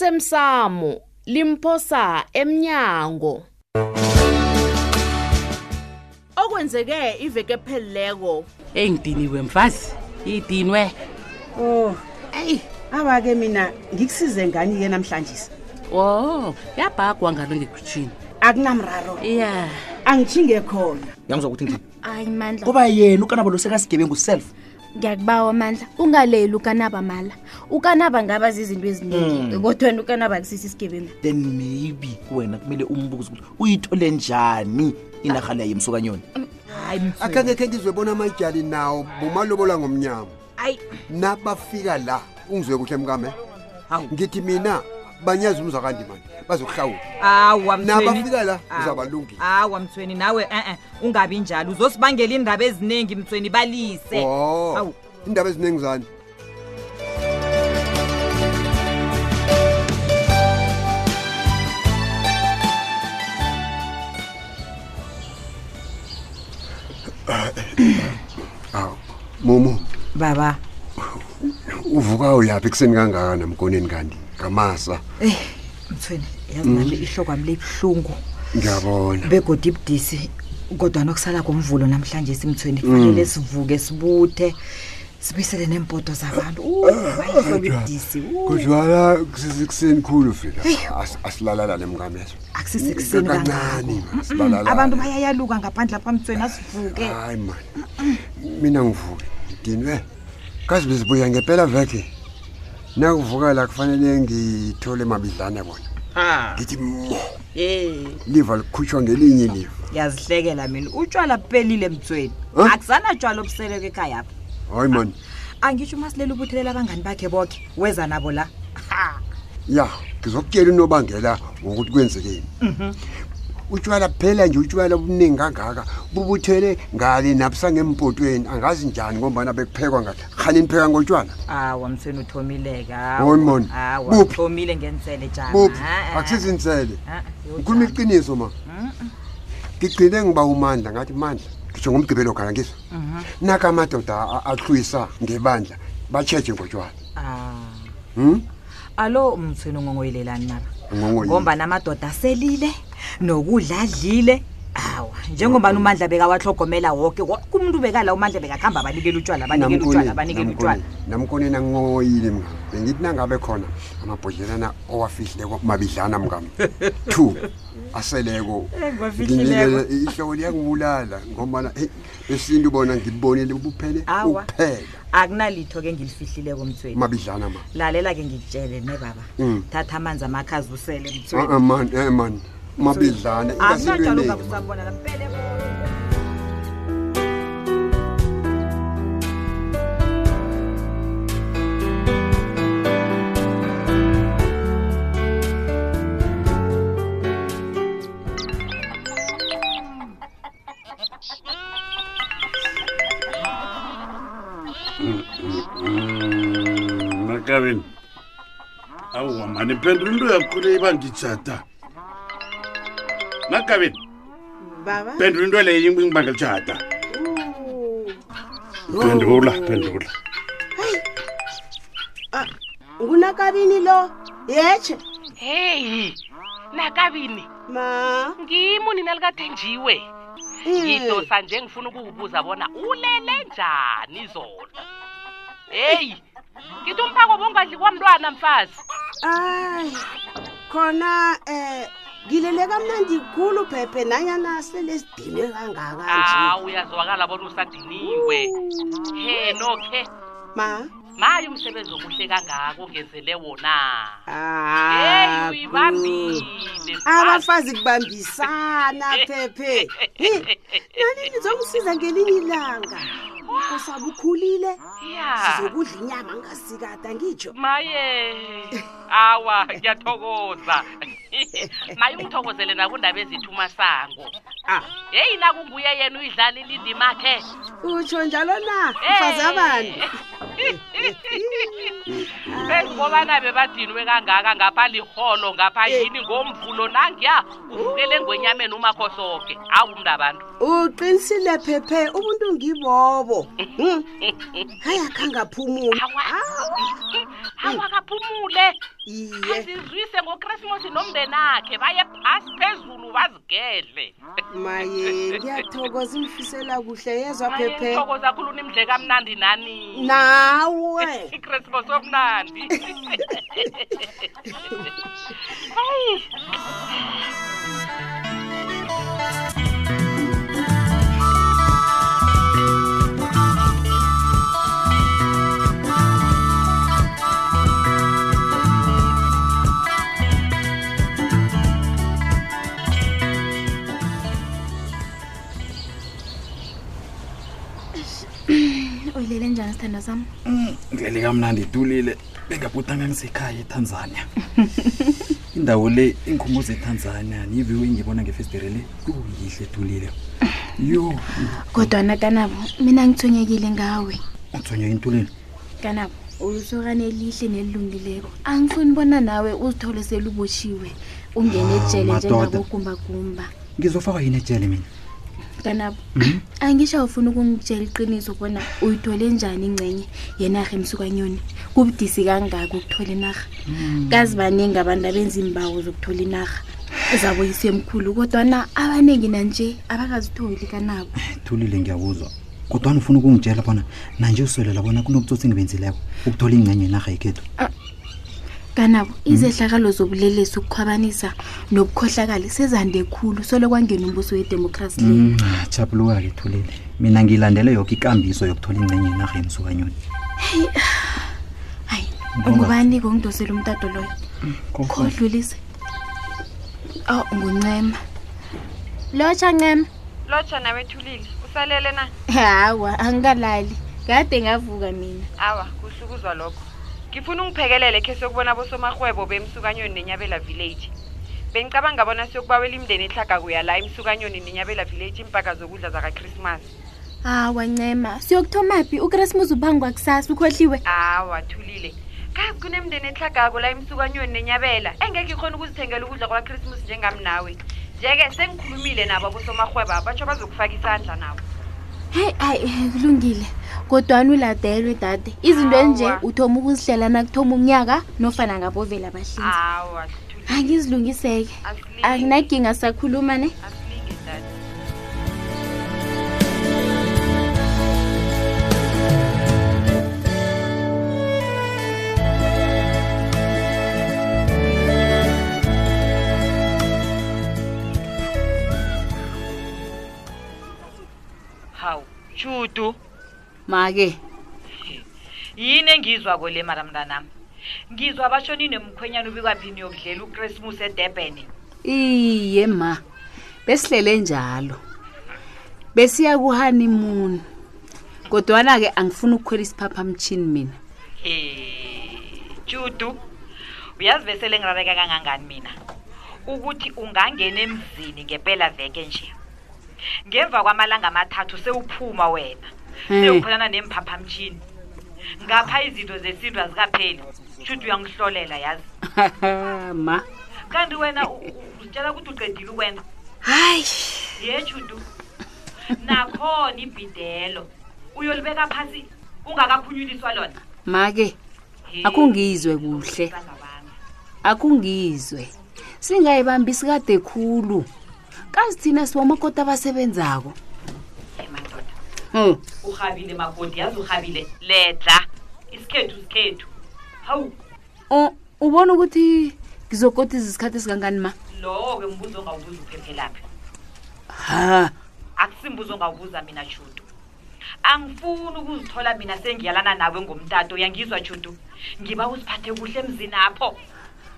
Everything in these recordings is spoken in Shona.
osemsamo limphosa emnyango okwenzeke iveke pheleleko eyi ngidiniwe mfazi idinwe oh eyi awa-ke mina ngikusize ngani-ke namhlanje o yabhagwa ngalo ngekhutshini akunamraro ya angishinge khona yangizwa ukuthi ngithini hayi mandla kuba yena ukanabo losekasigebe self ngiyakubawa mandla ungaleli ukanaba mala ukanaba ngaba zizinto eziningi kodwa wena ukanaba akusisi isigebengu then maybe wena kumele umbuze ukuthi uyithole njani inaha leyo yemsukanyoni akhange khe ngizwe bona amatyali nawo bumalobola ngomnyama hayi nabafika la ungizwe kuhle mkame ngithi mina banyazi umzwakandimani bazokuhlawula awa mthweni nabafika la Ah. Awu. uzabalungile awa mthweni nawe e-e ungabi njalo uzosibangela iindaba eziningi mthweni balise o Awu. Oh. iindaba eziningi zani momo baba uvuka uyaphi ekuseni kangaka namkoneni kanti ngamasa eyi mthweni yazi nami Mm. ihlokwami libuhlungu ngiyabona begodi ibudisi kodwa nokusala komvulo namhlanje simthweni kufanele Mm. sivuke sibuthe sibuyisele neempoto zabantu bayihloba ibudisi Uh, kodwana kusisekuseni khulu fika As- asilalalane mngameso akusisekuseni kangako kancane ma, silalalane. abantu bayayaluka ngaphandle apha mthweni asivuke hayi mani mina ngivuke ngidinwe kazi bezibuya ngempela veke nakuvuka la kufanele ngithole mabidlane bona ngithi mo Eh, liva likhutshwa ngelinye iliva yazihlekela mina utshwala bupelile mthweni Huh? akusanatshwala obuseleko ekhaya apha hayi mani angitsho uma silele ubuthelela abangani bakhe boke weza nabo la Ha! ya ngizokutshela unobangela wokuthi kwenzekeni Mhm. utshwala phela nje utshwala obuningi kangaka bubuthele ngale nabusangempotweni angazi njani ngombana bekuphekwa ngale khani nipheka ngotshwala awa mthweni uthomileke Hoyi mani, buphi? uthomile ngensele jama buphi Ah, ah, akusizinisele ah, yo ngikhuluma Jama. iqiniso ma ngigcine ngiba umandla ngathi mandla ngisho ngomgqibelo khona ngizo Mhm. naka amadoda a- ahlwisa ngebandla batshetshe ngotshwala Ah. Hmm? alo mthweni ungongoyelelani baba Ungongoyile. ngomba namadoda aselile nokudla adlile awa njengobani umandla bekawahlogomela woke woke umuntu bekala umandla bekakuhamba abanikela utshwala abanikela utshwala abanikela utshwala namkoneni angincoyile mngam bengithi nangabe khona amabhodlelana owafihleko mabidlana mngam two aseleko ngiwafihlileko. Ngilele- ihloko liyangibulala ngombana eyi besintu bona ngilibonile buphele awa uphela akunalitho ke ngilifihlileko mthweni mabidlana ma lalela ke ngikutshele ne baba Mm. thatha amanzi amakhazi usele mthweni Ah, ah, man eh man mabidlana ingasinto akunanjalo eningi ma. ungabusabona lampele makabeni awuwa mani phendula into yakho le ibangitshata makabeni baba phendula into leyo ingibangela utshata phendula phendula Ah, ngunakabini lo yetshe heyi nakabini ma ngimi nina likathenjiwe ngidosa nje ngifuna ukuwubuza bona ulele njani zona heyi ngithi umphako bongadli kwamntwana mfazi ayi khona um ngilele kamnandi khulu phephe nanyana selesidinwe kangaka nje hawu Ah, uyazwakala bona usadiniwe he nokhe ma maye umsebenzi omuhle kangaka ongenzele wona heyi Ah, uyibambile mfazi. abafazi kubambisana phephe Hi, nani nizomsiza ngelinye ilanga usabe ukhulile ya sizokudla inyama ngasikada ngitsho maye awa ngiyathokoza maye ungithokozele nakundaba ezithi umasango Ah. heyi nakunguye yena uyidlalile indimakhe utsho njalo na mfazi abani bezikobana bebadinwe kangaka ngapha liholo ngapha yini ngomvulo nangiya uvukele ngwenyameni umakho soke awu mntu abantu uqinisile phephe ubuntu ngibobo Hmm. hayi akhangaphumula awakaphumule iye azizwise ngokrisimosi nomndenakhe baye phasi phezulu bazigedle maye ngiyathokoza imfisela kuhle yezwa phephe ayentoko zakhulu nimdle kamnandi nani nawe ikrismos omnandi hayi uyilele njani sithanda sami ndlele Mm, kamnandi itulile bengabhutanga ngisekhaya etanzania indawo le ingikhumbuza etanzania niviwe ngibona ngefestire le kuyihle etulile yo kodwana kanabo mina ngithonyekile ngawe uthonywa intuleni kanabo ulisokane elihle nelilungileko angifuni bona nawe uzithole selubotshiwe ungene ejele madoda. njengabogumbagumba ngizofakwa yini ejele mina kanabo angisho ufuna ukungitshela iqiniso bona uyithole njani ingcenye yenarha emsukanyoni kubudisi kangaki ukuthola inarha kazi baningi abantu abenza iimbawo zokuthola inarha zaboyise emkhulu kodwana abaningi nanje abakazitholi kanabo ithulile ngiyakuzwa kodwani ufuna ukungitshela bona nanje usolela bona kunobutsotsi engibenzileko ukuthola ingcenye yenarha yekhethu kanabo izehlakalo zobulelesi ukukhwabanisa nobukhohlakali sezande khulu solo kwangena umbuso wedemokhrasi Mhm. le chapuluka-ke ithulile mina ngilandele yoke ikambiso yokuthola ingcenye yenarha emsukanyoni hayi Ngoba- ngubani-ke ongidosela umtato loyo khodlulise aw nguncema lotsha ncema lotsha nawe ethulile usalele na hawa angikalali kade ngavuka mina awa kuhlukuzwa lokho ngifuna ungiphekelele khe siyokubona bosomarhwebo bemsukanyoni nenyabela village bengicabanga bona siyokubawela imndeni ehlaga kuyala emsukanyoni nenyabela village impaka zokudla zakakrismas hawa ncema siyokuthoma phi ukrismus uphangwa kusasa ukhohliwe Ah. awa thulile kazi kunemndeni ehlagako la emsukanyoni nenyabela engekho ikhona ukuzithengela ukudla kwakrismas njengami nawe nje-ke sengikhulumile nabo abosomarhwebo abatsho bazokufaka isandla nabo heyi hayi kulungile kodwani uladelwe dade izinto enje Awa. uthoma ukuzihlela nakuthoma umnyaka nofana ngabovela bahlinzi awa thulile angizilungiseke asilinge akunaginga sakhuluma ne asilinge dad hawu judu make yini engizwako le mara mntanami ngizwa bashoni nomkhwenyana ubikwaphini yokudlela ukrismus edebhene iye ma besihlele njalo besiya kuhoneymoon kodwana-ke angifuni ukukhwela isiphaphamtshini mina Eh, Judu. Uyazi bese lengirareka kangangani mina. Ukuthi ungangena emzini ngempela veke nje. Ngemva kwamalanga amathathu sewuphuma wena. Sewukhonana nemphaphamtshini. Ngapha izinto zesintu azikapheli. Judu uyangihlolela yazi. ma Kanti wena u- u- uzitshela ukuthi uqedile ukwenza. hayi Ye Judu. Nakhona ibhidelo. Uyolibeka phansi ungakakhunyuliswa lona. make He, akungizwe kuhle abantwana bami. akungizwe singayibambisi kade khulu kazi thina sibomakoti abasebenzako Eh, madoda. Hmm. urhabile makoti yazi urhabile ledla isikhethu isikhethu hawu U- ubona ukuthi ngizokotiza isikhathi esingangani ma lowo-ke mbuzo ongawubuza uphephelaphi ha akusimbuzo ongawubuza mina judu angifuni ukuzithola mina sengiyalana nawe ngomtato uyangizwa judu ngiba uziphathe kuhle emzini apho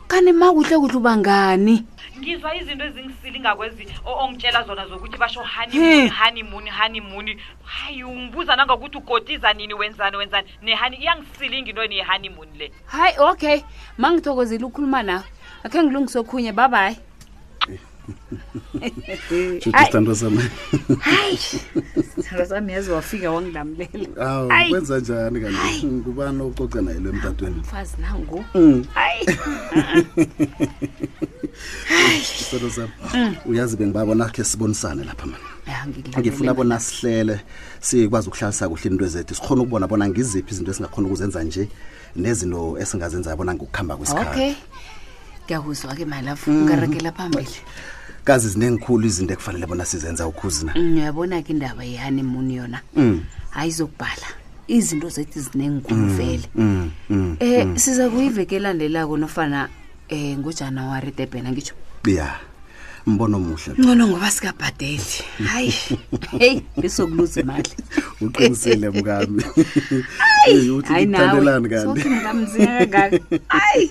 kani ma kuhle kuhle ubangani ngizwa izinto ezingisilingakwezi o- ongitshela zona zokuthi basho honeymoon honeymoon honeymoon hayi ungibuza nangokuthi ugotiza nini wenzani wenzani nehani iyangisilinga into ne-honeymoon le hayi okay ma ngithokozile ukukhuluma nawe akhe ngilungise okhunye babayi Juthi sithandwa sami. hayi sithandwa sami yazi wafika wangilamulela Awu Hayi. kwenza njani kanti? Ngubani ococa naye lo emtatweni? mfazi nangu Mm. hayi Sithandwa sami. Mm. Uyazi bengibabona khe sibonisane lapha mani. Ya, ngilamulela. ngifuna bona sihlele sikwazi ukuhlalisa kuhle into ezethu sikhona ukubona bona ngiziphi izinto esingakhona ukuzenza nje nezinto esingazenza bona ngokuhamba kwesikhathi okay ngiyakuzwa ke malafu Mm. ungarakela phambili kazi zinengikhulu izinto ekufanele bona sizenza ukhuzina Mm, uyabona ke indaba yehanimuni yona Mm, hayi zokubhala izinto zethu zinenkulu mm, vele mm, um mm, mm. siza kuyiveke elandelako nofana um ngojanuwari debhena ngitsho ya mbono omuhle lo. ngcono ngoba sikabhadeli hayi heyi ngisokuluza imali uqinisile mkami Eh, uthi hayi nawe ngikuthandelani kanti sothi ngamzina kangaka hayi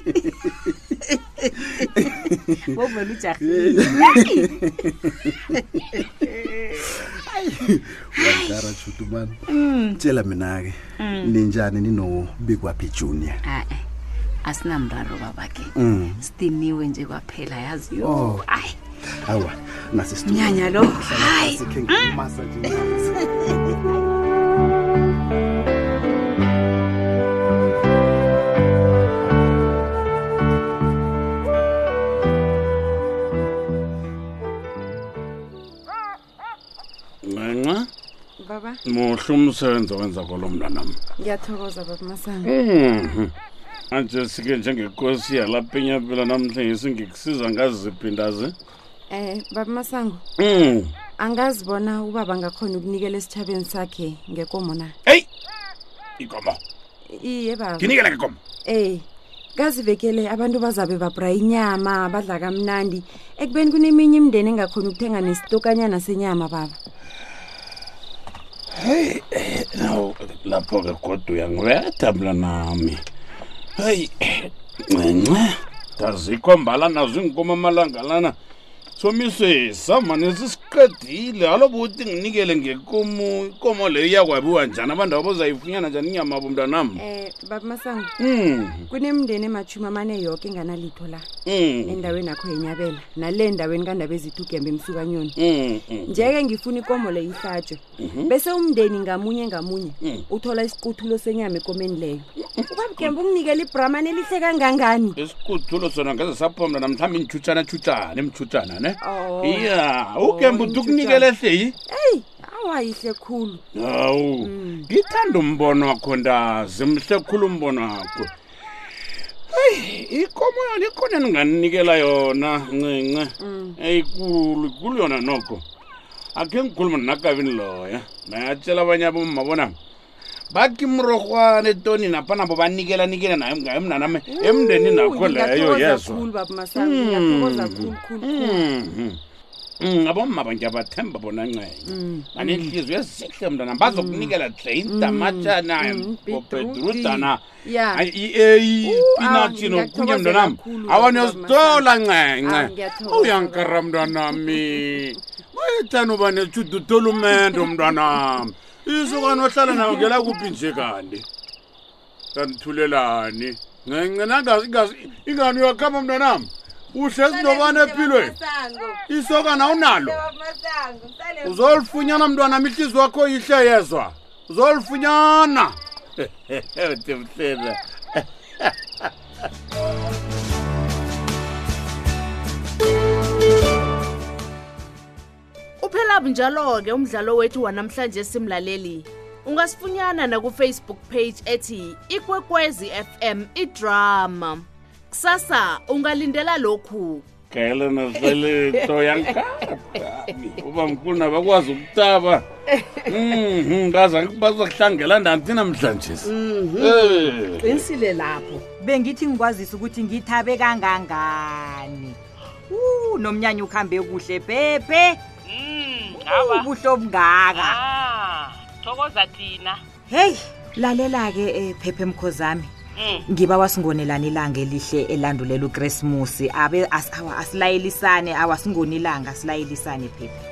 bovela ujahile wakara shutu mani Mm. tshela mina-ke Mm. ninjani ninobikwaphi junior a-e asinamraro babake Mm. sidiniwe nje kwaphela yaziyo Oh. hayi awa nasisitu nyanya lo hayi Mm. sikhe ngikumasa nje nawe. ncanca baba muhle umsebenzi owenza kolo mntanam ngiyathokoza baba masana Mhm. anje sike njengenkosi yalapenyapela namhle ngesingekusiza ngaziphindazi um baba masango Mm. angazi bona ubaba ngakhona ukunikela esitshabeni sakhe ngekomo na ikomo iye baba nginikele ngekomo ey kazivekele abantu bazabe babhra inyama badla kamnandi ekubeni kuneminye imindeni engakhona ukuthenga nesitokanyana senyama baba heyi naw eh, lapho ke kodwa eh, uyangibetha mntanami heyi ncince ndazikho mbala nazo iinkomo amalanga lana somiswesa mane sisiqedile alobo uthi nginikele ngekomo ikomo leyo iyakwabiwa njani abantu abo bozayifunyana njani inyama abo mntanam eh baba masango Mm. kunemindeni emachumi amane yoke enganalitho la Mm. endaweni akho yenyabela nale endaweni kandaba ezitugembe emsukanyoni Mm, mm. njeke ngifuna ikomo le ihlatshwe Mhm. bese umndeni ngamunye ngamunye Mm. uthola isiquthulo senyama ekomeni leyo ubamgembe unginikela ibramani elihle kangangani isikuthulo sona ngeze saphomla namhlawumbe initshutshana-tshutshana imtshutshana ne Oh. iya Oh, ugembe uthi ukunikela ehleyi eyi awayihle khulu Mm. hawu ngithanda umbono wakho ndazi mhle khulu umbono wakho heyi ikomo yona ikhona endinganinikela yona ncince eyikulu ikulu yona noko akhe ngikhuluma ninakabini loya nayatshela abanye abomma bona bakhi mrorhwana etoni napha nabo banikelanikele naye ngaye mnanami emndeni nakho leyo yezwa Mm. Mm, khulu baba masango ngiyathokoza Hmm. khulu khulu khulu Mhm. Mm, abomma bangiyabathemba bona ncenye Hmm. banenhliziyo ezihle mntana bazokunikela hle indamatshana Hmm, obhedrudana Mm, ya i-eyi ah, ipinatshi nokunye ngiyakuthokozela mntwanam kakhulu, awanezitola Ah, ncence ngiyathokoza. uyankara mntwanami wethani uba neshudu utolumendo mntwanam isukani ohlala nayo ngela kuphi nje kanti kandithulelani ncence nangazi ingani uyakhamba mntwanam uhle sinobani empilweni isokana awunalo uzolifunyana mntwanam ihliziyo wakho yihle yezwa uzolifunyana timhlela uphela bunjalo-ke umdlalo wethu wanamhlanje simlaleli ungasifunyana nakufacebook page ethi ikwekwezi fm idrama kusasa ungalindela lokhu gaelana seletho yankata uba mkhulu nabakwazi ukutaba Mhm, kaza bazokuhlangela nanti namhlanje qinisile lapho bengithi ngikwazisa ukuthi ngithabe kangangani u nomnyanya ukuhambe kuhle pepe Mm, ubuhle obungaka Ah, thokoza thina heyi lalela-ke um phephe mkhozami Mm. ngiba wasingonelani ilanga elihle elandulela ukrismusi abe as- awa, asilayelisane awa singoni ilanga asilayelisane phephe